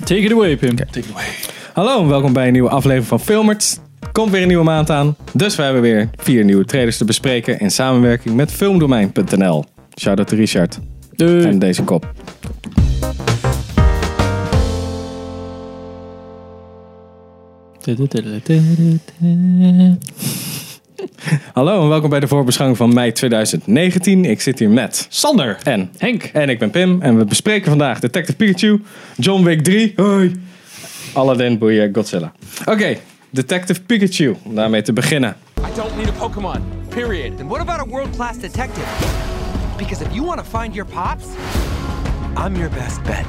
Take it away, Pim. Hallo en welkom bij een nieuwe aflevering van Filmert. Komt weer een nieuwe maand aan, dus we hebben weer vier nieuwe trailers te bespreken in samenwerking met filmdomein.nl. Shout-out to Richard Doei. en deze kop. Hallo en welkom bij de voorbeschouwing van mei 2019. Ik zit hier met Sander. en Henk. en ik ben Pim en we bespreken vandaag Detective Pikachu, John Wick 3, hoi, Aladdin, boeien, Godzilla. Oké, Detective Pikachu, om daarmee te beginnen. I don't need a Pokemon. Period. Then what about a world-class detective? Because if you want to find your pops, I'm your best bet.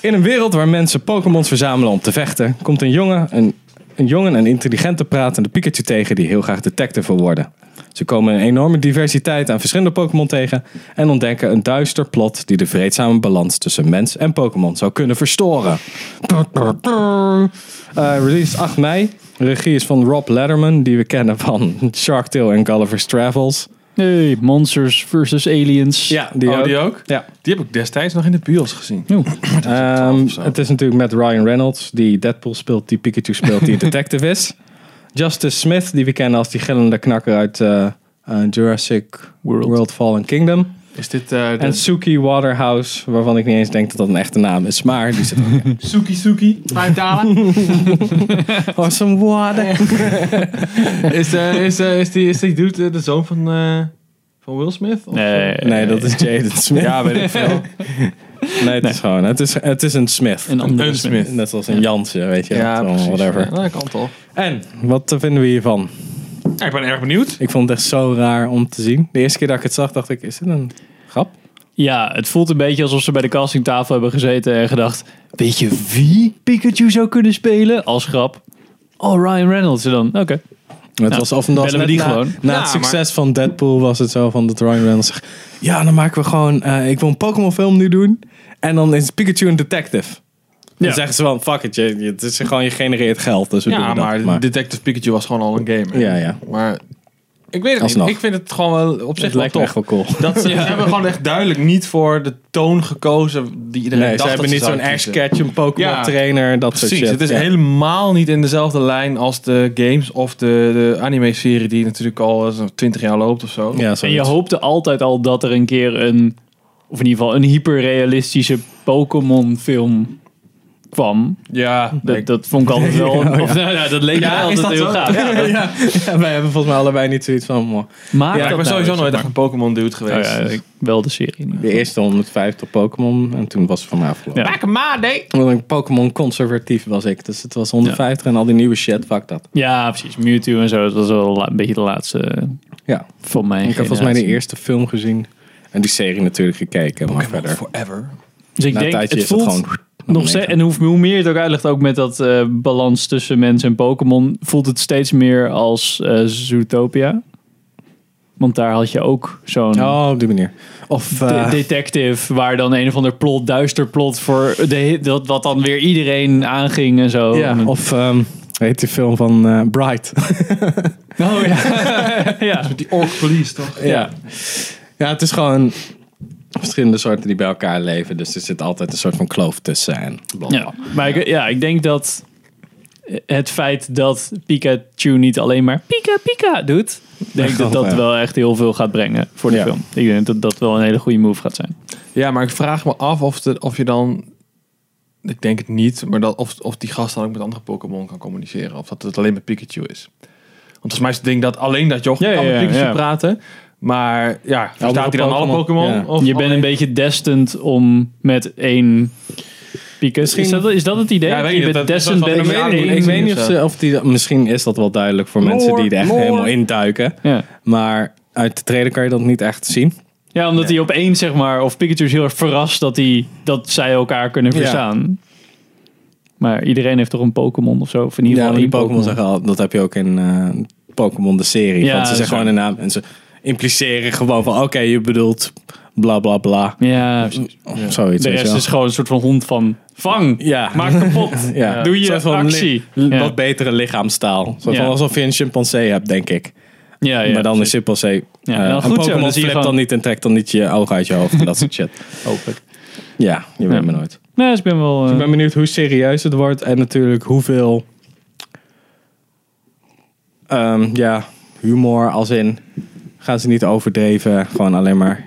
In een wereld waar mensen Pokémons verzamelen om te vechten, komt een jongen een, een, jongen een intelligente pratende Pikachu tegen die heel graag detective wil worden. Ze komen een enorme diversiteit aan verschillende Pokémon tegen en ontdekken een duister plot die de vreedzame balans tussen mens en Pokémon zou kunnen verstoren. Eh, release 8 mei. Regie is van Rob Letterman, die we kennen van Shark Tale en Gulliver's Travels. Hey, Monsters versus Aliens. Ja, die, Oh, die ook? Ja. Die heb ik destijds nog in de bios gezien. Oeh. Ehm, het is natuurlijk met Ryan Reynolds, die Deadpool speelt, die Pikachu speelt, die een detective is. Justice Smith, die we kennen als die gillende knakker uit eh, eh, Jurassic World. World. Fallen Kingdom. Is dit eh de En Suki Waterhouse, waarvan ik niet eens denk dat dat een echte naam is, maar die zit Suki Suki? Vijf talen? Awesome water. is, eh, is, eh, is, die, is die dude eh, de zoon van, eh, van Will Smith? Of- Nee, Nee, dat is Jaden Smith. Ja, weet ik veel. nee, het is gewoon, het is, het is een Smith. een andere Een Smith. Net zoals een Jansen, weet je. Ja, dat, precies. whatever. Ja, dat kan toch. En, wat vinden we hiervan? Ja, ik ben erg benieuwd. Ik vond het echt zo raar om te zien. De eerste keer dat ik het zag, dacht ik, is dit een grap? Ja, het voelt een beetje alsof ze bij de castingtafel hebben gezeten en gedacht... Weet je wie Pikachu zou kunnen spelen? Als grap. Oh, Ryan Reynolds. En dan, oké. Het was of omdat Nou, bellen we net die na, gewoon. Na Ja, het succes van Deadpool was het zo van dat Ryan Reynolds zegt... Ja, dan maken we gewoon... eh, ik wil een Pokémon film nu doen. En dan is Pikachu een detective. Dan Ja. zeggen ze van, fuck it, je, je- het is gewoon je genereert geld. Dus we doen Ja, dat. maar, maar Detective Pikachu was gewoon al een game. Ja, ja. Maar ik weet het Alsnog. niet. Ik vind het gewoon wel op zich het wel lijkt me echt tof. wel cool. Dat ze, ze hebben gewoon echt duidelijk niet voor de toon gekozen die iedereen Nee, dacht ze hebben dat niet zo'n zouden Ash kiezen. Ketchum, Pokémon Ja. trainer, dat soort Precies, shit. het is Ja. helemaal niet in dezelfde lijn als de games of de, de anime-serie die natuurlijk al eh, zo'n 20 jaar loopt of zo. Ja, En je zoiets. hoopte altijd al dat er een keer een... Of in ieder geval een hyperrealistische Pokémon film kwam. ja Dat, dat vond ik altijd wel... of, nou, ja, dat leek Ja, mij is altijd dat heel zo? gaaf. ja, ja, wij hebben volgens mij allebei niet zoiets van... "Mwah." Maar ik ben sowieso nooit echt een Pokémon-dude geweest. Oh wel de serie. De eerste 150 Pokémon en toen was het voor mij afgelopen. Ja. Back my day. Want een Pokémon conservatief was ik. Dus het was 150 en al die nieuwe shit, fuck dat. Ja, precies. Mewtwo en zo. Dat was wel la- een beetje de laatste eh, Ja. van mij. Ik heb volgens mij de eerste film gezien. En die serie natuurlijk gekeken, maar verder. Forever. Dus ik Na een denk, tijdje het is dat voelt gewoon... nog steeds... En hoe, hoe meer je het ook uitlegt, ook met dat eh, balans tussen mens en Pokémon... voelt het steeds meer als eh, Zootopia. Want daar had je ook zo'n... Oh, op die manier. Of... de- eh, detective, waar dan een of ander plot, duister plot voor de, dat, wat dan weer iedereen aanging en zo. ja, En- of... ehm, heet die film van eh, Bright. oh, ja. ja. Die Orc Police, toch? ja. Ja, het is gewoon... Verschillende soorten die bij elkaar leven. Dus er zit altijd een soort van kloof tussen. En bla, bla. Ja, maar ik, ja, ik denk dat het feit dat Pikachu niet alleen maar Pika Pika doet, denk ik dat wel, dat ja. wel echt heel veel gaat brengen voor de Ja. film. Ik denk dat dat wel een hele goede move gaat zijn. Ja, maar ik vraag me af of, de, of je dan... Ik denk het niet, maar dat, of, of die gast dan ook met andere Pokémon kan communiceren. Of dat het alleen met Pikachu is. Want volgens mij is het ding dat alleen dat joch Ja, kan ja, met Pikachu ja. praten. Maar ja, verstaat hij dan alle Pokémon, Pokémon? ja. Of Oh, Je bent een beetje destined om met één Pikachu. Is dat, is dat het idee? Ja, Dat weet je ik, bent dat- dat- destined dat- bent Ik dat- om weet niet, één- ik weet niet of, of ze, of die... Misschien is dat wel duidelijk voor mensen die er echt lore. helemaal induiken. Ja. Maar uit de trailer kan je dat niet echt zien. ja, omdat hij opeens zeg maar, of Pikachu is heel erg verrast dat, hij, dat zij elkaar kunnen Ja. verstaan. Maar iedereen heeft toch een Pokémon of zo? Of in ieder Ja, geval maar die één Pokémon zeggen al, dat heb je ook in eh, Pokémon de serie. Ja, want ze dat is zeggen gewoon een naam en ze impliceren gewoon van oké, je bedoelt bla bla bla. Ja, precies. Of Zoiets. De weet je rest wel. is gewoon een soort van hond van vang, Ja. maak kapot, ja. doe je Soort van actie. li- ja. Wat betere lichaamstaal. Zo Ja. van alsof je een chimpansee hebt, denk ik. ja, ja, maar dan precies. is chimpansee. Ja, eh, nou, een goed zo, dan Pokémon zie je flipt dan gewoon- niet en trekt dan niet je oog uit je hoofd en dat soort shit. hopelijk. Ja, je weet Ja. me nooit. Nee, dus ik ben wel... eh, Ik ben benieuwd hoe serieus het wordt en natuurlijk hoeveel ehm, ja, humor als in gaan ze niet overdreven, gewoon alleen maar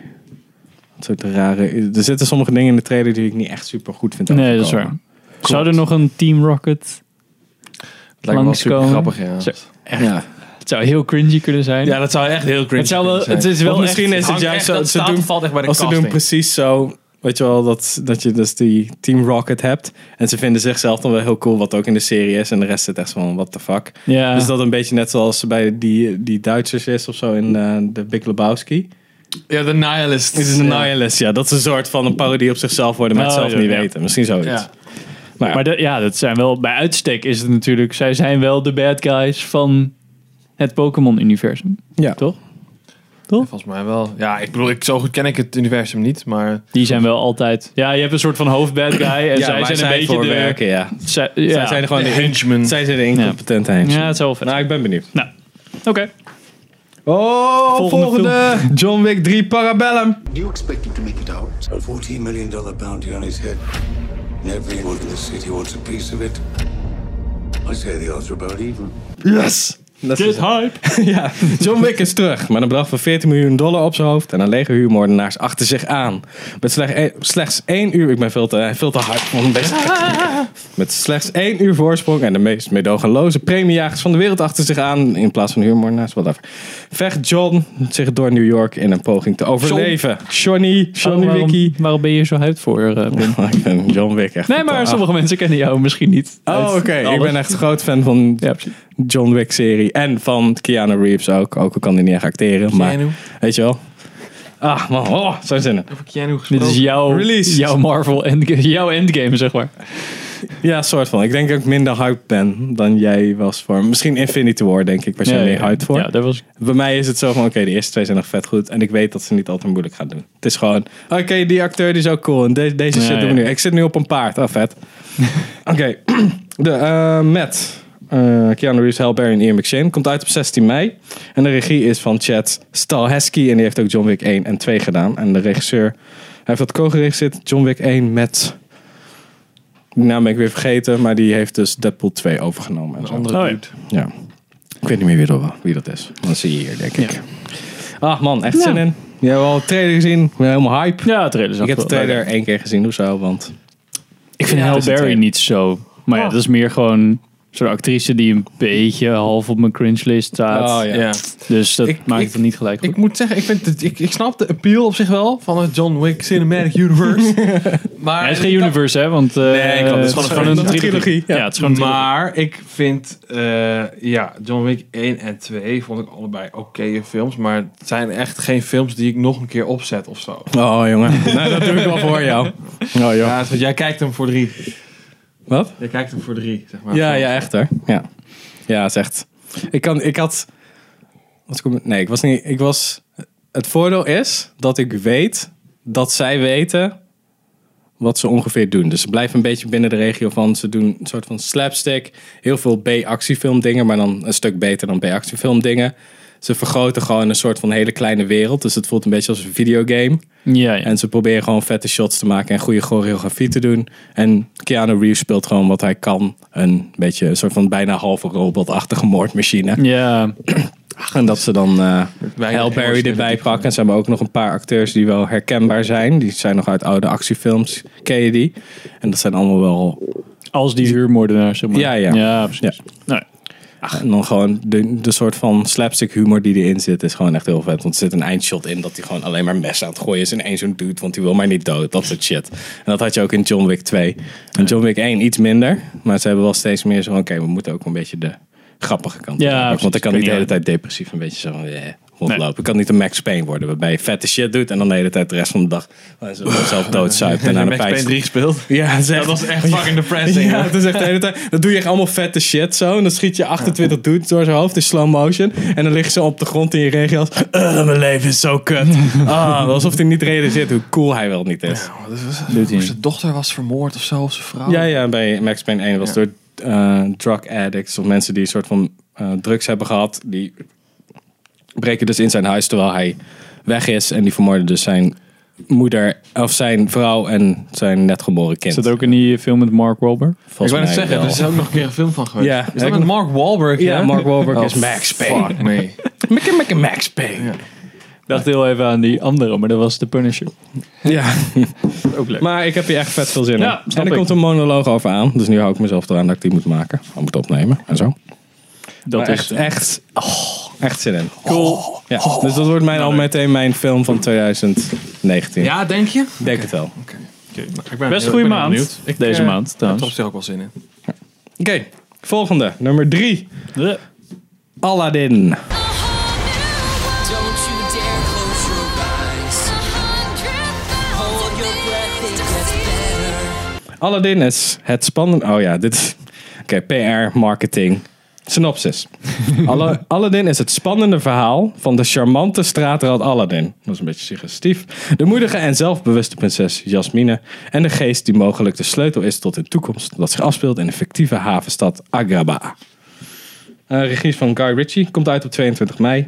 wat soort rare. Er zitten sommige dingen in de trailer die ik niet echt super goed vind. nee, dat is waar. overkomen. Zou er nog een Team Rocket... Het lijkt me wel super Langskomen. grappig, ja. Zo. Ja. Het zou heel cringy kunnen zijn. dat zou echt heel cringe het, zou wel, zijn. het is wel Of echt- misschien is het hangt juist echt- zo. dat Ze staat doen, en valt echt bij de als ze doen casting. precies zo. Weet je wel, dat, dat je dus die Team Rocket hebt. En ze vinden zichzelf dan wel heel cool, wat ook in de serie is. En de rest zit echt zo van, what the fuck. Ja. Dus dat een beetje net zoals bij die, die Duitsers is of zo in eh, de Big Lebowski. Ja, de Nihilist. Is een nihilist, ja. Dat is een soort van een parodie op zichzelf worden, maar het Oh, zelf ja, niet ja. weten. Misschien zoiets. Ja. Maar, ja. Maar de- ja, dat zijn wel... Bij uitstek is het natuurlijk... Zij zijn wel de bad guys van het Pokémon-universum. Ja. Toch? Volgens mij wel. Ja, ik bedoel, ik, zo goed ken ik het universum niet, maar... Die zijn wel altijd... Ja, je hebt een soort van hoofdbad guy. En Ja, zij waar zijn een beetje voor de... werken, ja. Zij, Zij ja. zijn gewoon de, henchmen. Zij zijn de incompetente ja. ja, het zou wel vet Nou, ik ben benieuwd. Nou, oké. Oh, Volgende volgende. John Wick 3 Parabellum. You expected to make it out? A $14 million bounty on his head. And everyone in the city wants a piece of it. I say the odds are about even. Yes! Dat is Dit hype. Ja, John Wick is terug met een bedrag van 14 miljoen dollar op zijn hoofd en een lege huurmoordenaars achter zich aan. Met slechts één, slechts één uur, ik ben veel te, veel te hard voor mijn best. Met slechts één uur voorsprong en de meest meedogenloze premiejagers van de wereld achter zich aan in plaats van huurmoordenaars, whatever. Vecht John zich door New York in een poging te overleven. Johnny, Johnny Oh, waarom, Wiki. waarom ben je hier zo hyped voor? eh, Pim? ik ben John Wick echt. nee, maar totaal- sommige mensen kennen jou misschien niet. Oh, uit oké. Ik alles. ben echt groot fan van Ja, precies. John Wick serie. En van Keanu Reeves ook. Ook al kan hij niet echt acteren. Maar Keanu. weet je wel. Ah man, oh, zo'n zin. in. Keanu Dit is jouw, Release. jouw Marvel endgame, jouw endgame, zeg maar. Ja, soort van. Ik denk dat ik minder hyped ben dan jij was voor. Misschien Infinity War denk ik. Was jij meer hyped voor? Ja, daar was Bij mij is het zo van, oké, de eerste twee zijn nog vet goed. En ik weet dat ze niet altijd moeilijk gaan doen. Het is gewoon, oké, die acteur die is ook cool. En de- deze shit Ja, doen we ja. nu. Ik zit nu op een paard. Oh, vet. oké, de eh, met eh, Keanu Reeves, Halle Berry en Ian McShane. Komt uit op 16 mei. En de regie is van Chad Stahelski. En die heeft ook John Wick 1 en 2 gedaan. En de regisseur, hij heeft dat co-geregisseerd. John Wick 1 met... Die naam ben ik weer vergeten. Maar die heeft dus Deadpool 2 overgenomen. En zo. Oh, ja. Ja. Ik weet niet meer wie dat, wie dat is. Dan zie je hier, denk ik. Ah man, echt zin Ja. in. Je hebt al de trailer gezien. Ik ben helemaal hype. Ja, de trailer zag ik heb de wel leuk trailer één keer gezien, hoezo? Want uit. Ik vind Ja, Halle het is een Berry trailer. Oh. niet zo... Maar ja, dat is meer gewoon zo'n actrice die een beetje half op mijn cringe list staat. Oh, ja. Ja. Dus dat Ik- maakt ik- het dan niet gelijk goed. Ik moet zeggen, ik, vind het, ik, ik snap de appeal op zich wel van het John Wick Cinematic Universe. maar Hij is geen universe, hè? Want eh Nee, klopt. Het is het is gewoon gewoon een een trilogie. trilogie. Ja, het is gewoon een trilogie. Maar ik vind, eh, ja, John Wick 1 en 2 vond ik allebei oké films. Maar het zijn echt geen films die ik nog een keer opzet of zo. Oh jongen, nou, dat doe ik wel voor jou. Oh joh. Ja, dus jij kijkt hem voor drie. Wat? Jij kijkt hem voor drie, zeg maar. Ja, ja, echt hoor. Ja, ja is echt. Ik, kan, ik had... Wat kom, nee, ik was niet... Ik was, het voordeel is dat ik weet dat zij weten wat ze ongeveer doen. Dus ze blijven een beetje binnen de regio van... Ze doen een soort van slapstick. Heel veel B-actiefilm dingen, maar dan een stuk beter dan B-actiefilm dingen. Ze vergroten gewoon een soort van hele kleine wereld. Dus het voelt een beetje als een videogame. Ja, ja. En ze proberen gewoon vette shots te maken en goede choreografie te doen. En Keanu Reeves speelt gewoon wat hij kan. Een beetje een soort van bijna halve robotachtige moordmachine. ja. En dat ze dan eh Weinig Halle Berry emotionele erbij pakken. En ze hebben ook nog een paar acteurs die wel herkenbaar zijn. Die zijn nog uit oude actiefilms. Ken je die? En dat zijn allemaal wel... Als die huurmoordenaar, zeg maar. Ja, ja. Ja, precies. Nou, ja. En dan gewoon de, de soort van slapstick humor die erin zit is gewoon echt heel vet. Want er zit een eindshot in dat hij gewoon alleen maar mes aan het gooien is. En één zo'n dude, want die wil mij niet dood. Dat soort shit. En dat had je ook in John Wick 2. En John Wick 1 iets minder. Maar ze hebben wel steeds meer zo van, oké, we moeten ook een beetje de grappige kant Ja, op pakken. Want precies. ik kan niet de Ja. hele tijd depressief een beetje zo van, eh, rondlopen. Ik kan niet een Max Payne worden, waarbij je vette shit doet. En dan de hele tijd de rest van de dag eh, zo- zelf doodzuipt. En aan een Max Payne pijs. 3 gespeeld. Ja, het is echt- was echt fucking depressing, Ja, hoor. het is echt de hele tijd. Dan doe je echt allemaal vette shit zo. En dan schiet je 28 dudes door zijn hoofd in slow motion. En dan liggen ze op de grond in je regio als... "Ugh, mijn leven is zo kut. Ah, alsof hij niet realiseert hoe cool hij wel niet is. Zijn dochter was vermoord of zo, of zijn vrouw. Ja, ja, bij Max Payne 1 was door eh, drug addicts... of mensen die een soort van eh, drugs hebben gehad... die breken dus in zijn huis terwijl hij weg is. En die vermoorden dus zijn moeder, of zijn vrouw en zijn netgeboren kind. Is dat ook in die film met Mark Wahlberg? Ik Volgens wou mij net zeggen, wel. er is ook nog een keer een film van geweest. Ja, is ik- dat met Mark Wahlberg? Ja, Mark Wahlberg Oh, is Max Payne. Fuck me. Mickey Mickey Max Payne. Ja. Dacht heel even aan die andere, maar dat was The Punisher. Ja. Ook leuk. Maar ik heb hier echt vet veel zin Ja, in. snap En er ik. komt een monoloog over aan. Dus nu hou ik mezelf eraan dat ik die moet maken. Of moet opnemen en zo. Dat Maar is echt, echt, oh, echt zin in. Cool. Ja, dus dat wordt Nou, mijn, al meteen mijn film van 2019. Ja, denk je? Ik denk het wel. Oké, best een goede maand. Deze eh, maand Ik heb er op trouwens. zich ook wel zin in. volgende. Nummer drie. Ja. Aladdin. Don't you dare close your eyes. Hold your breath, it gets better. Aladdin is het spannende... Oh ja, dit is... Oké, PR, marketing. Synopsis. Alla- Aladdin is het spannende verhaal van de charmante straatrad Aladdin. Dat is een beetje suggestief. De moedige en zelfbewuste prinses Jasmine. En de geest die mogelijk de sleutel is tot een toekomst. Dat zich afspeelt in de fictieve havenstad Agrabah. Eh regie is van Guy Ritchie. Komt uit op 22 mei.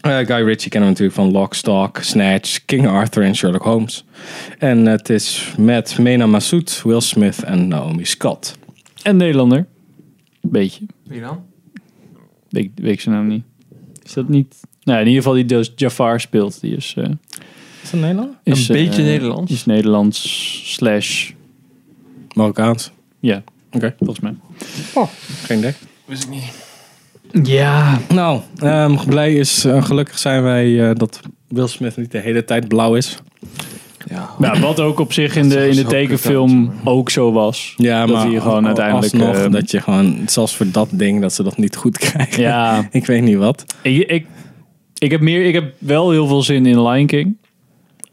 Eh, Guy Ritchie kennen we natuurlijk van Lock, Stock, Snatch, King Arthur en Sherlock Holmes. En het is met Mena Massoud, Will Smith en Naomi Scott. En Nederlander. Beetje. Wie dan? Weet, ik- weet ik zijn naam niet. Is dat niet... Nou, in ieder geval die dus Jafar speelt. Die is... eh, Is dat Nederland? is een eh, beetje Nederlands. Is Nederlands slash... Ja, Marokkaans. Oké. volgens mij. Geen idee. Wist ik niet. Ja. Nou, ehm, blij is, eh, gelukkig zijn wij eh, dat Will Smith niet de hele tijd blauw is. Ja. Nou, wat ook op zich in de, in de Zo kut uit, tekenfilm ook zo was. Ja, dat maar hij gewoon al- uiteindelijk... alsnog, eh, dat je gewoon, zelfs voor dat ding, dat ze dat niet goed krijgen. Ja, Ik weet niet wat. ik, ik, ik, heb meer, ik heb wel heel veel zin in Lion King.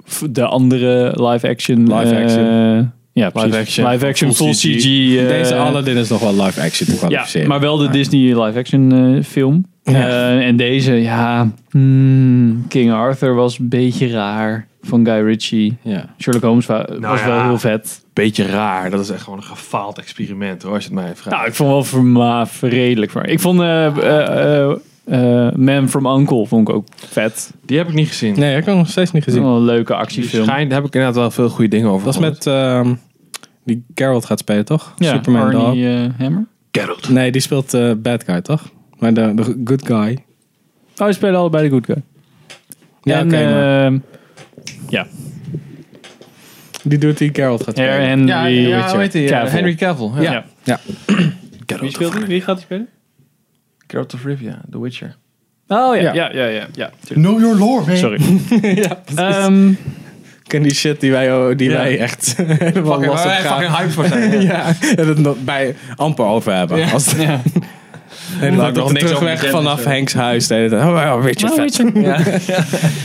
F- De andere live-action... Live eh, action. Ja, precies. action, Live action, full full CG. eh, Deze Aladdin is nog wel live action te Ja, kwalificeren. maar wel de Disney live-action eh, film. Eh, en deze, ja... hmm, King Arthur was een beetje raar van Guy Ritchie. Ja. Sherlock Holmes wa- was ja. wel heel vet. Beetje raar. Dat is echt gewoon een gefaald experiment hoor, als je het mij vraagt. Nou, ik vond wel verma redelijk. Maar ik vond eh, eh, eh, eh, Man from Uncle vond ik ook vet. die heb ik niet gezien. Nee, ik heb hem nog steeds niet gezien. Wel een leuke Die actiefilm. schijn, daar heb ik inderdaad wel veel goede dingen over Dat is met ehm, die Geralt gaat spelen, toch? Ja, Superman Dog. Arnie eh, Hammer. Geralt. Nee, die speelt eh, Bad Guy, toch? Maar de, de Good Guy. Oh, ze spelen allebei de Good Guy. Ja, en, oké, eh, maar ehm, ja, die doet die Geralt gaat spelen. Her Henry. Ja, ja, hoe heet die? Cavill. Eh, Henry Cavill. Ja. Ja. Geralt Wie speelt of die? Wie gaat die spelen? Geralt of Rivia, The Witcher. Oh ja, Ja. ja, ja, ja. ja, tuurlijk. Know your lore, man. Sorry. ja, Ehm, ken die shit die wij, oh, die Ja. wij echt helemaal Fucking, lastig waar wij gaan. fucking hyped voor zijn. ja. Ja, en het nog bij amper over hebben. Ja. Als het, ja. En dan Laat de nog niks over terugweg bekend vanaf is, Nou, eh. Henks huis. De hele tijd. Oh, oh, Richard Oh, vet.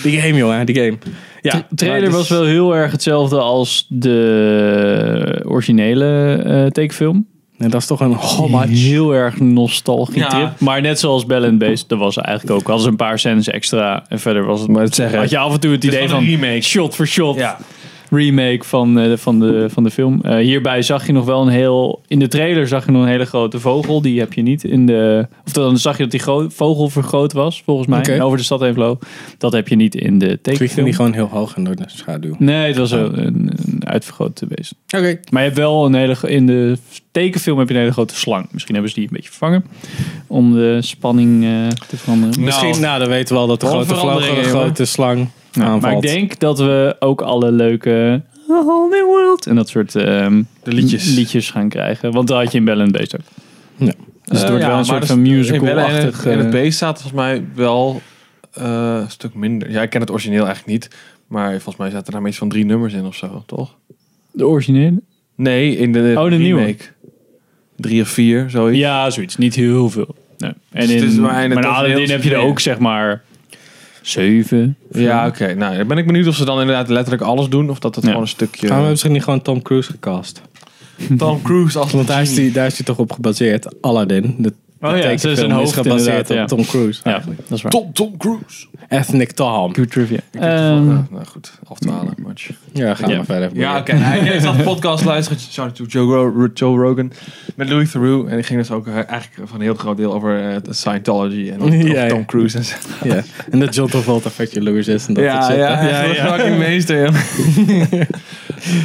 Die game, jongen, die game. Ja, De trailer maar dus- was wel heel erg hetzelfde als de originele eh tekenfilm. Nee, dat Oh, is toch een homage. Heel erg nostalgie Ja. trip. Maar net zoals Bell and Beast, dat was eigenlijk ook. Hadden ze een paar scènes extra en verder was het... Maar het zeggen- had je af en toe het, idee gewoon van een remake. shot voor shot. Ja. Remake van, eh, van, de, van de film. Eh, hierbij zag je nog wel een heel... In de trailer zag je nog een hele grote vogel. Die heb je niet in de... Of dan zag je dat die gro- vogel vergroot was, volgens mij. Oké. En over de stad heen vloog. Dat heb je niet in de Ik vind tekenfilm. die gewoon heel hoog en door de schaduw. Nee, het was een, een, een uitvergrote wezen. Oké. Maar je hebt wel een hele... gro- In de tekenfilm heb je een hele grote slang. Misschien hebben ze die een beetje vervangen. Om de spanning eh, te veranderen. Misschien, nou, dan weten we al dat de Wat grote, veranderingen, vlogger, de jongen. grote slang Ja, Nou, aanvalt. maar ik denk dat we ook alle leuke... A whole new world. En dat soort ehm, De liedjes. liedjes gaan krijgen. Want dat had je in Bell and Beast ook. Ja. Dus het Eh, wordt ja, wel een maar soort dat van is- in musical-achtig... Bellen En, en eh, het B staat volgens mij wel eh, een stuk minder. Ja, ik ken het origineel eigenlijk niet. Maar volgens mij zaten er daar iets van drie nummers in of zo, toch? de originele? Nee, in de, Oh, de nieuwe. remake. Drie of vier, zoiets. Ja, zoiets. Niet heel veel. Nee. En Dus het is in, maar in maar het in Aladdin origineel heb je er zit- ook, zeg maar... Zeven. Ja, oké. Nou, dan ben ik benieuwd of ze dan inderdaad letterlijk alles doen. Of dat het Ja. gewoon een stukje... Gaan we misschien niet gewoon Tom Cruise gecast? Tom Cruise als Want daar is, die, daar is die toch op gebaseerd. Aladdin, de Oh ja, ze is een tekenfilm hoofd inderdaad. gebaseerd op Ja. Tom Cruise. ja, eigenlijk. dat is waar. Tom, Tom Cruise. Ethnic Tom. Good trivia. Ehm, nou, nou goed, af te halen. Match. Ja, gaan Ja. we verder. Ja, oké. Hij heeft zelf een podcast luisteren. Shout-out to Joe, Ro- Joe Rogan. Met Louis Theroux. En die ging dus ook eh, eigenlijk van een heel groot deel over eh, Scientology en over Ja, ja. Tom Cruise en zo. Ja. En dat John Travolta Fredje Lewis is en dat soort shit. hè? ja, fucking meester. joh.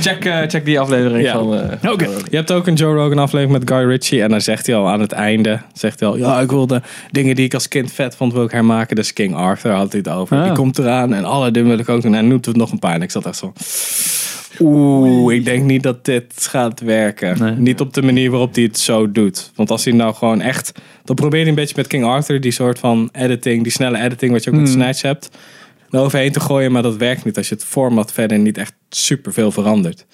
check, eh, check die aflevering Ja. van... eh, Oké. Je hebt ook een Joe Rogan aflevering met Guy Ritchie. En dan zegt hij al aan het einde: zegt hij al, Ja, ik wil de dingen die ik als kind vet vond, wil ik hermaken. Dus King Arthur had hij het over. Ah. Die komt eraan en alle dingen wil ik ook doen. En hij noemt het nog een paar. En ik zat echt zo. Oeh, ik denk niet dat dit gaat werken. Nee. Niet op de manier waarop hij het zo doet. Want als hij nou gewoon echt. Dan probeert hij een beetje met King Arthur die soort van editing, die snelle editing, wat je ook met Hmm. Snatch hebt, er overheen te gooien. Maar dat werkt niet als je het format verder niet echt super veel verandert.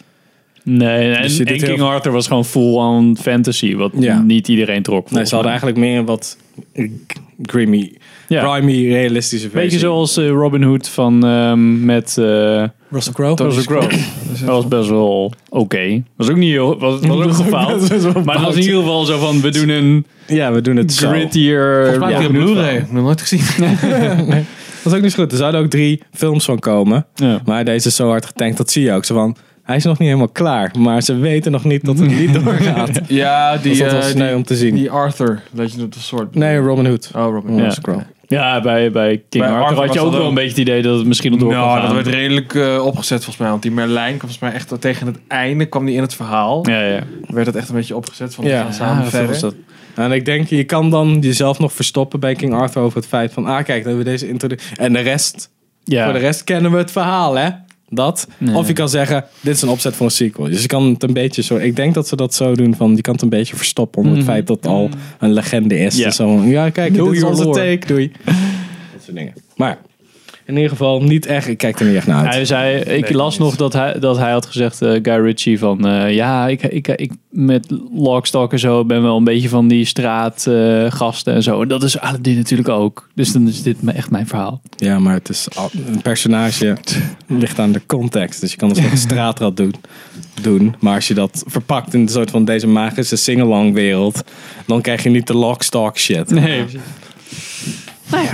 Nee, en, Dus je en doet King heel- Arthur was gewoon full-on fantasy, wat Ja. niet iedereen trok. Nee, ze hadden eigenlijk meer een wat grimy, Ja. grimy, realistische versie. Beetje zoals eh, Robin Hood van ehm, met eh Russell Crowe. Russell Crowe. Dat was best wel oké. Was ook niet heel, was, was ook gefaald. Maar het was in ieder geval zo van, we doen een Ja, we doen het zo. grittier... Volgens mij Ja, heb ik een Blu-ray. Nog nooit gezien. Dat is ook niet zo goed. Er zouden ook drie films van komen. Ja. Maar deze is zo hard getankt, dat zie je ook. Zo van, hij is nog niet helemaal klaar. Maar ze weten nog niet dat het niet doorgaat. ja, Dus die, dat was eh, sneu die, om te zien. die Arthur. Legend of the Sword. nee, Robin Hood. Oh, Robin. Ja. Ja. Russell Crowe. Ja, bij, bij King Bij Arthur, Arthur had was je ook dat wel ook. een beetje het idee dat het misschien nog door kon Nou, dat gaan. werd redelijk eh, opgezet volgens mij. Want die Merlijn kwam volgens mij echt tegen het einde kwam die in het verhaal. Ja, ja. Werd het echt een beetje opgezet van we Ja, gaan samen verder. was dat. En ik denk, je kan dan jezelf nog verstoppen bij King Arthur over het feit van... Ah, kijk, dan hebben we deze introductie. En de rest ja. Voor de rest kennen we het verhaal, hè? Dat. Nee. Of je kan zeggen, dit is een opzet voor een sequel. Dus je kan het een beetje zo... Ik denk dat ze dat zo doen van... Je kan het een beetje verstoppen onder het feit dat het al een legende is. Mm. Ja. Ja, zo, ja kijk, Know dit is your onze lore. take. Doei. Dat soort dingen. Maar in ieder geval niet echt... Ik kijk er niet echt naar uit. Hij zei, ik las nog dat hij, dat hij had gezegd, eh, Guy Ritchie, van eh, ja, ik, ik, ik met Lockstock en zo ben wel een beetje van die straatgasten gasten en zo. En dat is Aladdin natuurlijk ook. Dus dan is dit me- echt mijn verhaal. Ja, maar het is al- een personage ligt aan de context. Dus je kan het als een straatrat doen, doen. Maar als je dat verpakt in een soort van deze magische sing-along wereld... dan krijg je niet de lockstock shit. Nee, eh, Eh,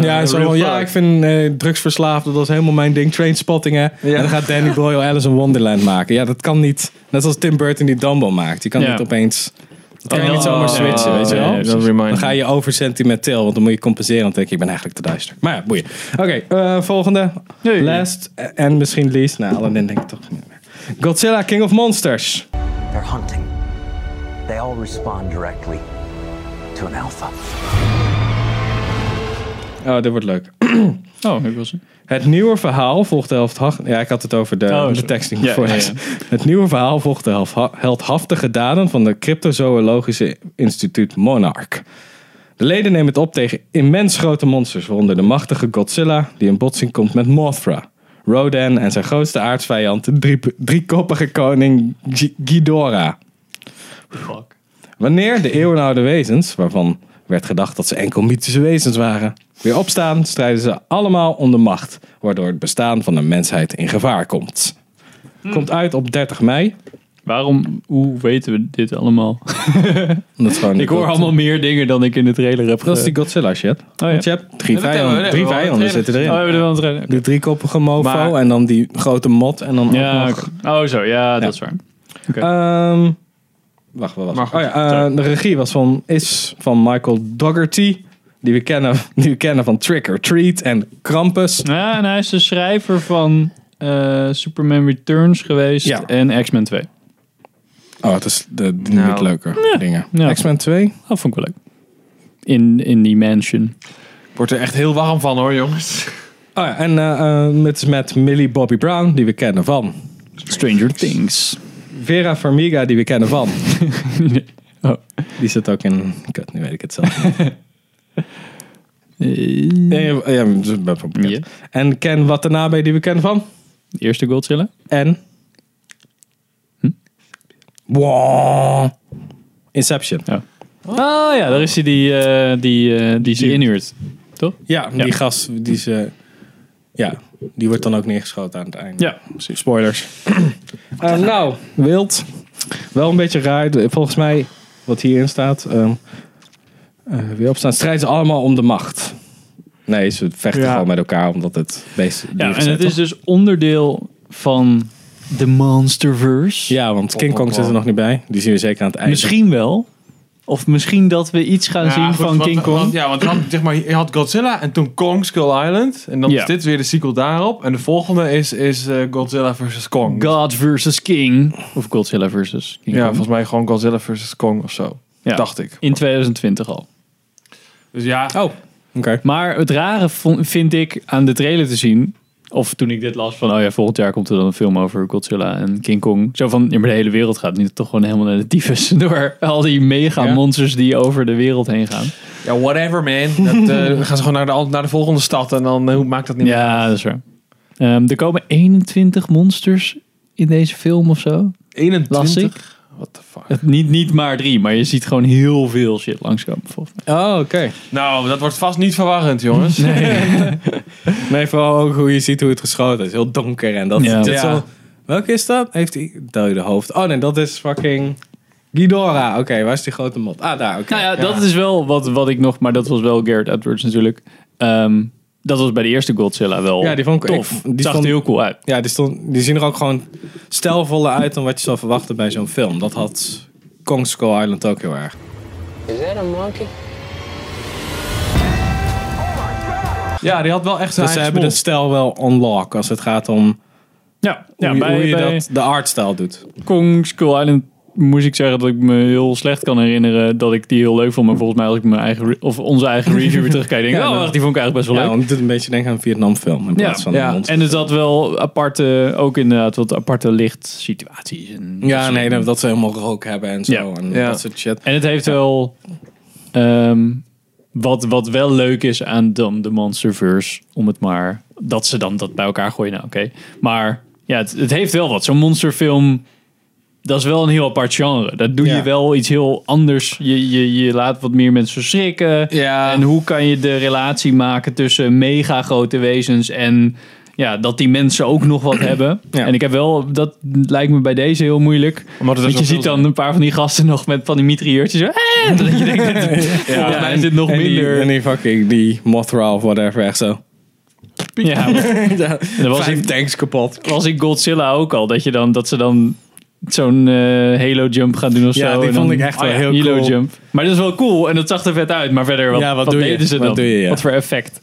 Ja, zo, van, ja ik vind eh drugsverslaafden, dat is helemaal mijn ding. Trainspotting, hè. En dan gaat Danny Boyle Alice in Wonderland maken. Ja, dat kan niet. Net als Tim Burton die Dumbo maakt. Je kan Ja. niet opeens... Dat kan je Oh, niet zomaar ja. switchen, weet je wel? Nee, dat reminds dan ga je over sentimenteel, want dan moet je compenseren. Dan denk ik, ik ben eigenlijk te duister. Maar ja, boeien. Oké, eh, volgende. Nee. Last en misschien least. Nou, Aladdin denk ik toch niet meer. Godzilla, King of Monsters. They're hunting. They all respond directly to an alpha. Oh, dit wordt leuk. oh, ik was Het nieuwe verhaal volgt de heldhaftige... Ja, ik had het over de, sorry. de texting Oh, Ja, voor. ja, ja. Het nieuwe verhaal volgt de helfha- heldhaftige daden van de cryptozoologische instituut Monarch. De leden nemen het op tegen immens grote monsters, waaronder de machtige Godzilla, die in botsing komt met Mothra. Rodan en zijn grootste aardsvijand, de drie, driekoppige koning G- Ghidorah. Wanneer de eeuwenoude wezens, waarvan werd gedacht dat ze enkel mythische wezens waren, weer opstaan, strijden ze allemaal om de macht, waardoor het bestaan van de mensheid in gevaar komt. Hmm. Komt uit op 30 mei. Waarom, hoe weten we dit allemaal? Omdat het gewoon Ik hoor dat- allemaal meer dingen dan ik in de trailer heb Dat is die Godzilla shit. ja. Want je hebt drie Oh, Ja, dat hebben vijanden, we, drie dat hebben we al in de vijanden trailer zitten erin. Oh, hebben we er wel een trailer? Oké. De driekoppige mofo Maar- en dan die grote mot en dan ook Ja, nog- oké. oh zo, ja, dat is waar. Ehm, wacht, wacht, Maar wacht. goed, Oh ja, eh, de regie was van, is van Michael Dougherty. Die we, kennen, die we kennen van Trick or Treat en Krampus. Ja, en hij is de schrijver van eh, Superman Returns geweest Ja. en X-Men 2. Oh, het is de, de Nou. niet leuke dingen. Ja. X-Men 2. Dat Ah, vond ik wel leuk. In, in die mansion. Wordt er echt heel warm van hoor, jongens. Oh ja, en eh, eh, het is met Millie Bobby Brown, die we kennen van. Stranger Things. Vera Farmiga, die we kennen van. Oh. Die zit ook in... Kut, nu weet ik het zelf. Eh, Nee, ja, ja, dat is best wel bekend. Ja. En Ken Watanabe, die we kennen van. de eerste Godzilla. En... Hm? Wow. Inception. Ja. Ah ja, daar is hij die, eh, die, eh, die ze inhuurt. Toch? Ja, Ja. die gast, die ze... Ja, die wordt dan ook neergeschoten aan het einde. Ja. Spoilers. Eh, nou, wild. Wel een beetje raar. De- Volgens mij, wat hierin staat. ehm, eh, weer opstaan, strijden ze allemaal om de macht. Nee, ze vechten Ja. gewoon met elkaar omdat het meest. Ja, diergezet en het was. is dus onderdeel van de Monsterverse. Ja, want King Kong zit er nog niet bij. Die zien we zeker aan het eind. Misschien wel. Of misschien dat we iets gaan zien goed, van want- King Kong. want- ja, want dan, zeg maar, je had Godzilla en toen Kong Skull Island. En dan Ja. is dit weer de sequel daarop. En de volgende is, is eh, Godzilla versus Kong. God versus King. Of Godzilla versus King ja, Kong. volgens mij gewoon Godzilla versus Kong of zo. Ja. Dacht ik. In 2020 al. Dus ja, Oh, oké. Maar het rare vond- vind ik aan de trailer te zien... Of toen ik dit las van, oh ja, volgend jaar komt er dan een film over Godzilla en King Kong. Zo van, ja, maar de hele wereld gaat nu toch gewoon helemaal naar de tyfus. Door al die mega Ja. monsters die over de wereld heen gaan. ja whatever man. Dat, eh, dan gaan ze gewoon naar de, al- naar de volgende stad en dan eh, hoe maakt dat niet meer Ja, dat is waar. Ehm, er komen 21 monsters in deze film of zo. 21? Las ik. What the fuck? Het, niet, niet maar drie, maar je ziet gewoon heel veel shit langskomen. volgens mij. Oh, oké. Nou, dat wordt vast niet verwarrend, jongens. Nee, vooral ook hoe je ziet hoe het geschoten is. Heel donker en dat. Ja. dat Ja. zo- welke is dat? Heeft hij dode hoofd? Oh nee, dat is fucking Ghidorah. Oké, waar is die grote mot? Ah, daar. Oké. Nou ja, dat is wel wat, wat ik nog... Maar dat was wel Garrett Edwards natuurlijk. Ehm, dat was bij de eerste Godzilla wel Ja, die vond ik- tof. ik- die Zag vond- er heel cool uit. Ja, die, stond, die zien er ook gewoon stijlvoller uit dan wat je zou verwachten bij zo'n film. Dat had Kong Skull Island ook heel erg. Dus Is that a monkey? Ja, die had wel echt zijn dus ze eigen hebben het smoel. stijl wel unlock als het gaat om Ja, ja hoe, je- bij, hoe je bij dat, de artstijl doet. Kong Skull Island moest ik zeggen dat ik me heel slecht kan herinneren dat ik die heel leuk vond. Maar volgens mij als ik mijn eigen re- of onze eigen review weer terugkijk, denk ik, Ja, oh, nou. wacht, die vond ik eigenlijk best wel Ja, leuk. want het doet een beetje denken aan een Vietnamfilm in plaats van een ja. monster. en er zat wel aparte, ook inderdaad wat aparte lichtsituaties. En, Ja, nee, dat- dat ze helemaal rook hebben en zo. Ja. En Ja. dat soort shit. en het heeft wel, ehm, wat, wat wel leuk is aan dan de Monsterverse, om het maar, dat ze dan dat bij elkaar gooien, nou oké. Maar ja, het, het heeft wel wat. Zo'n monsterfilm, dat is wel een heel apart genre. Dat doe Ja. je wel iets heel anders. Je, je, je laat wat meer mensen schrikken. Ja. En hoe kan je de relatie maken tussen mega grote wezens en ja, dat die mensen ook nog wat hebben. Ja. En ik heb wel, dat lijkt me bij deze heel moeilijk. Omdat er Want je dus zoveel ziet dan een paar van die gasten nog met van die mitrailleurtjes. Zo, "Eh!" dat je denkt, ja, volgens mij is dit nog en Die, minder. en die fucking, die Mothra of whatever, echt zo. ja, En dat was Vijf in, tanks kapot. was in Godzilla ook al, dat, je dan, dat ze dan zo'n eh, halo jump gaan doen of Ja, zo. die en vond dan- ik echt oh wel ja, heel halo cool. jump. Maar dat is wel cool en dat zag er vet uit. Maar verder, wat, Ja, wat wat doe je? deden ze Wat dan? doe je, ja. Wat voor effect?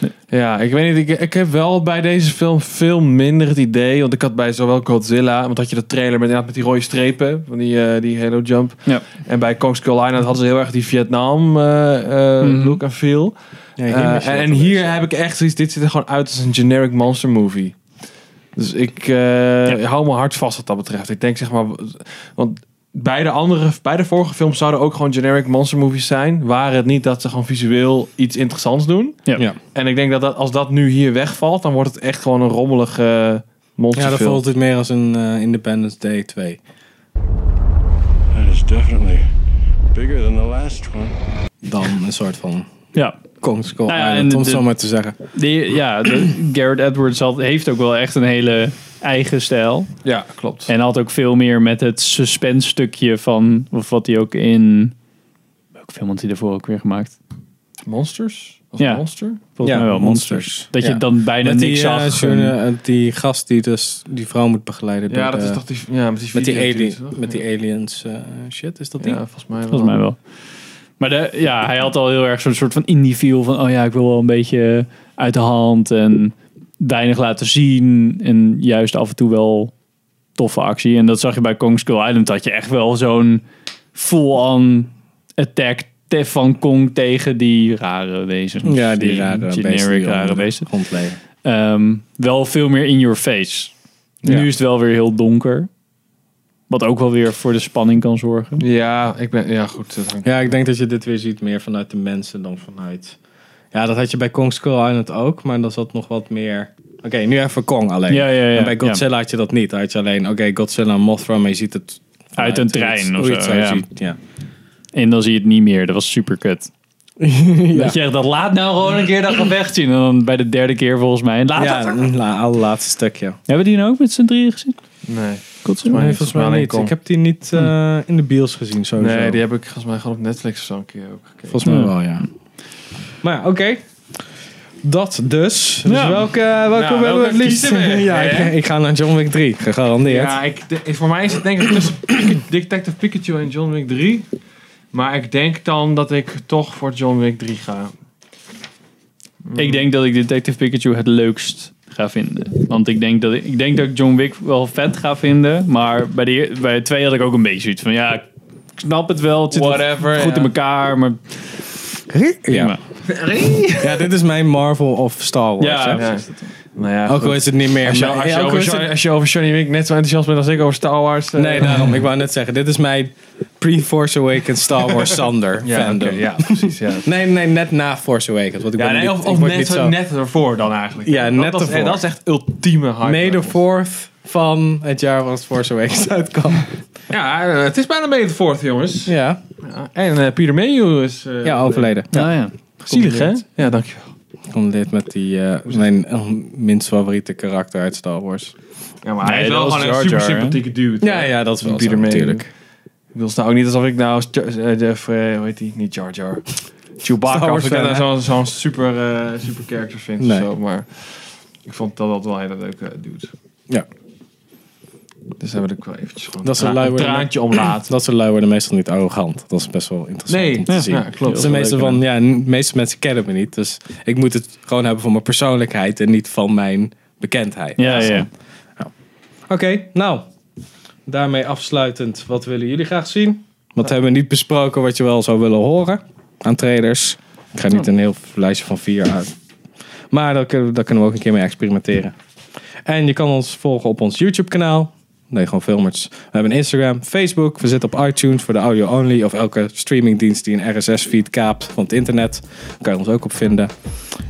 dus- Ja, ik weet niet. Ik, ik heb wel bij deze film veel minder het idee. Want ik had bij zowel Godzilla, want had je de trailer met, inderdaad met die rode strepen, van die, eh, die Halo Jump. Ja. En bij Kong Skull Island hadden ze heel erg die Vietnam eh, eh, Mhm. look en feel. Eh, en, en hier heb ik echt zoiets, dit ziet er gewoon uit als een generic monster movie. Dus ik eh, hou mijn hart vast wat dat betreft. Ik denk zeg maar, want bij de, andere, bij de vorige films zouden ook gewoon generic monster movies zijn. Waren het niet dat ze gewoon visueel iets interessants doen. Ja. Ja. En ik denk dat, dat als dat nu hier wegvalt, dan wordt het echt gewoon een rommelige Ja, monsterfilm. dat voelt het meer als een eh, Independence Day 2. That is definitely bigger than the last one. Dan een soort van Ja, Kong Skull Nou ja, Island, en om de- het zo maar te zeggen. Die, ja, de- Garrett Edwards had, heeft ook wel echt een hele eigen stijl. Ja, klopt. En had ook veel meer met het suspense stukje van... Of wat hij ook in... Welke film had hij daarvoor ook weer gemaakt? Monsters? Of Ja. Monster? Volgens Ja, mij wel Monsters. Monsters. Dat Ja. je dan bijna Met die, niks eh, zag. en- journa- eh, die gast die dus die vrouw moet begeleiden. Ja, door dat de- is toch die... eh, Ja, met die, Met die, video- alien, toch? met die aliens eh, shit, is dat die? Ja, volgens mij wel. Volgens mij wel. Maar de, ja, hij had al heel erg zo'n soort van indie feel van... Oh ja, ik wil wel een beetje uit de hand en weinig laten zien. En juist af en toe wel toffe actie. En dat zag je bij Kong Skull Island. Dat je echt wel zo'n full-on attack te- van Kong tegen die rare wezens. Ja, die rare generic beesten die rare onder de beesten. grond leven. Ehm, wel veel meer in your face. Nu is het wel weer heel donker. Wat ook wel weer voor de spanning kan zorgen. Ja, ik ben... Ja, goed. dat hangt- Ja, ik denk dat je dit weer ziet meer vanuit de mensen dan vanuit... Ja, dat had je bij Kong Skull Island ook, maar dan zat nog wat meer... Oké, nu even Kong alleen. Ja, ja, ja. En bij Godzilla had je dat niet. Had je alleen, oké, Godzilla en Mothra, maar je ziet het... vanuit een hoe je het- trein of hoe je het zo, ja. ziet, ja. En dan zie je het niet meer. Dat was super kut. Dat je echt, dat laat nou gewoon een keer dat gevecht zien. En dan bij de derde keer volgens mij. Laat Ja, dat. la- allerlaatste stukje. Hebben die nou ook met z'n drieën gezien? Nee. Volgens mij, niet, volgens mij niet. Lincoln. Ik heb die niet eh, in de bios gezien sowieso. Nee, die heb ik volgens mij gewoon op Netflix of zo een keer ook gekeken. Volgens mij Ja. wel, ja. Maar ja, oké. Dat dus. Dus Ja. welke, welke Nou, hebben we welke het liefst? kiezen we? Ja, Ja, ik, ja. ik ga naar John Wick 3, gegarandeerd. Ja, ik, de- ik- voor mij is het denk ik tussen Pika- Detective Pikachu en John Wick 3. Maar ik denk dan dat ik toch voor John Wick 3 ga. Ik denk dat ik Detective Pikachu het leukst ga vinden. Want ik denk dat ik, ik denk dat ik John Wick wel vet ga vinden. Maar bij de, eer- bij de twee had ik ook een beetje zoiets van ja, ik snap het wel. Het zit wel Whatever, goed ja. in elkaar. Maar Ja. prima. Ja, dit is mijn Marvel of Star Wars. Ja, hè. ja. Nou ja, Ook al is het niet meer. Als je, mijn- als, je ook al over, is het- Johnny- als je over Johnny Wick net zo enthousiast bent als ik over Star Wars. eh, Nee, daarom. Ik wou net zeggen, dit is mijn pre-Force Awakens Star Wars Sander ja, fandom. oké, ja, precies. Ja, Nee, nee, net na Force Awakens. Want ik ja word nee, niet- of, ik of word net, niet zo, zo... net ervoor dan eigenlijk. Ja, net dat, is- ervoor. Dat is echt ultieme hype. May the 4th van het jaar wat Force Awakens uitkwam. Ja, eh, het is bijna May the Fourth, jongens. Ja, Ja, En eh, Peter Mayhew is... eh, ja overleden. Nou ja. Zielig, hè? Ja, dankjewel. Om dit met die, eh, mijn eh, minst favoriete karakter uit Star Wars. Ja, maar Nee, hij is dat wel was gewoon een Jar Jar, super hè? sympathieke dude. Ja, hè? ja, dat is wel Peter zo, Mayhew. natuurlijk. Ik wil nou ook niet alsof ik nou... Jar- eh, Jeff, eh, hoe heet die? Niet Jar Jar. Star Chewbacca. Wars Of ik fan, nou hè? zo'n zo'n super, eh, super character vind Nee. of zo. Maar ik vond dat dat wel een hele leuke dude. Ja, Dus daar wil ik wel eventjes gewoon Dat is tra- een lui een worden- traantje om laten. dat soort lui worden meestal niet arrogant. Dat is best wel interessant Nee, om te ja, zien. ja, klopt. Dus de meeste, van, ja, de meeste mensen kennen me niet. Dus ik moet het gewoon hebben van mijn persoonlijkheid en niet van mijn bekendheid. Ja, ja. ja. Oké, nou. Daarmee afsluitend. Wat willen jullie graag zien? Wat hebben we niet besproken wat je wel zou willen horen aan trailers? Ik ga niet een heel lijstje van vier uit. Maar daar kunnen, we- daar kunnen we ook een keer mee experimenteren. En je kan ons volgen op ons YouTube kanaal. Nee, gewoon filmers. We hebben Instagram, Facebook. We zitten op iTunes voor de audio only. Of elke streamingdienst die een RSS-feed kaapt van het internet. Daar kan je ons ook op vinden.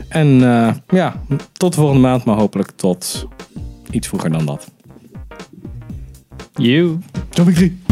En eh, ja, tot de volgende maand. Maar hopelijk tot iets vroeger dan dat. You. John Wick 3.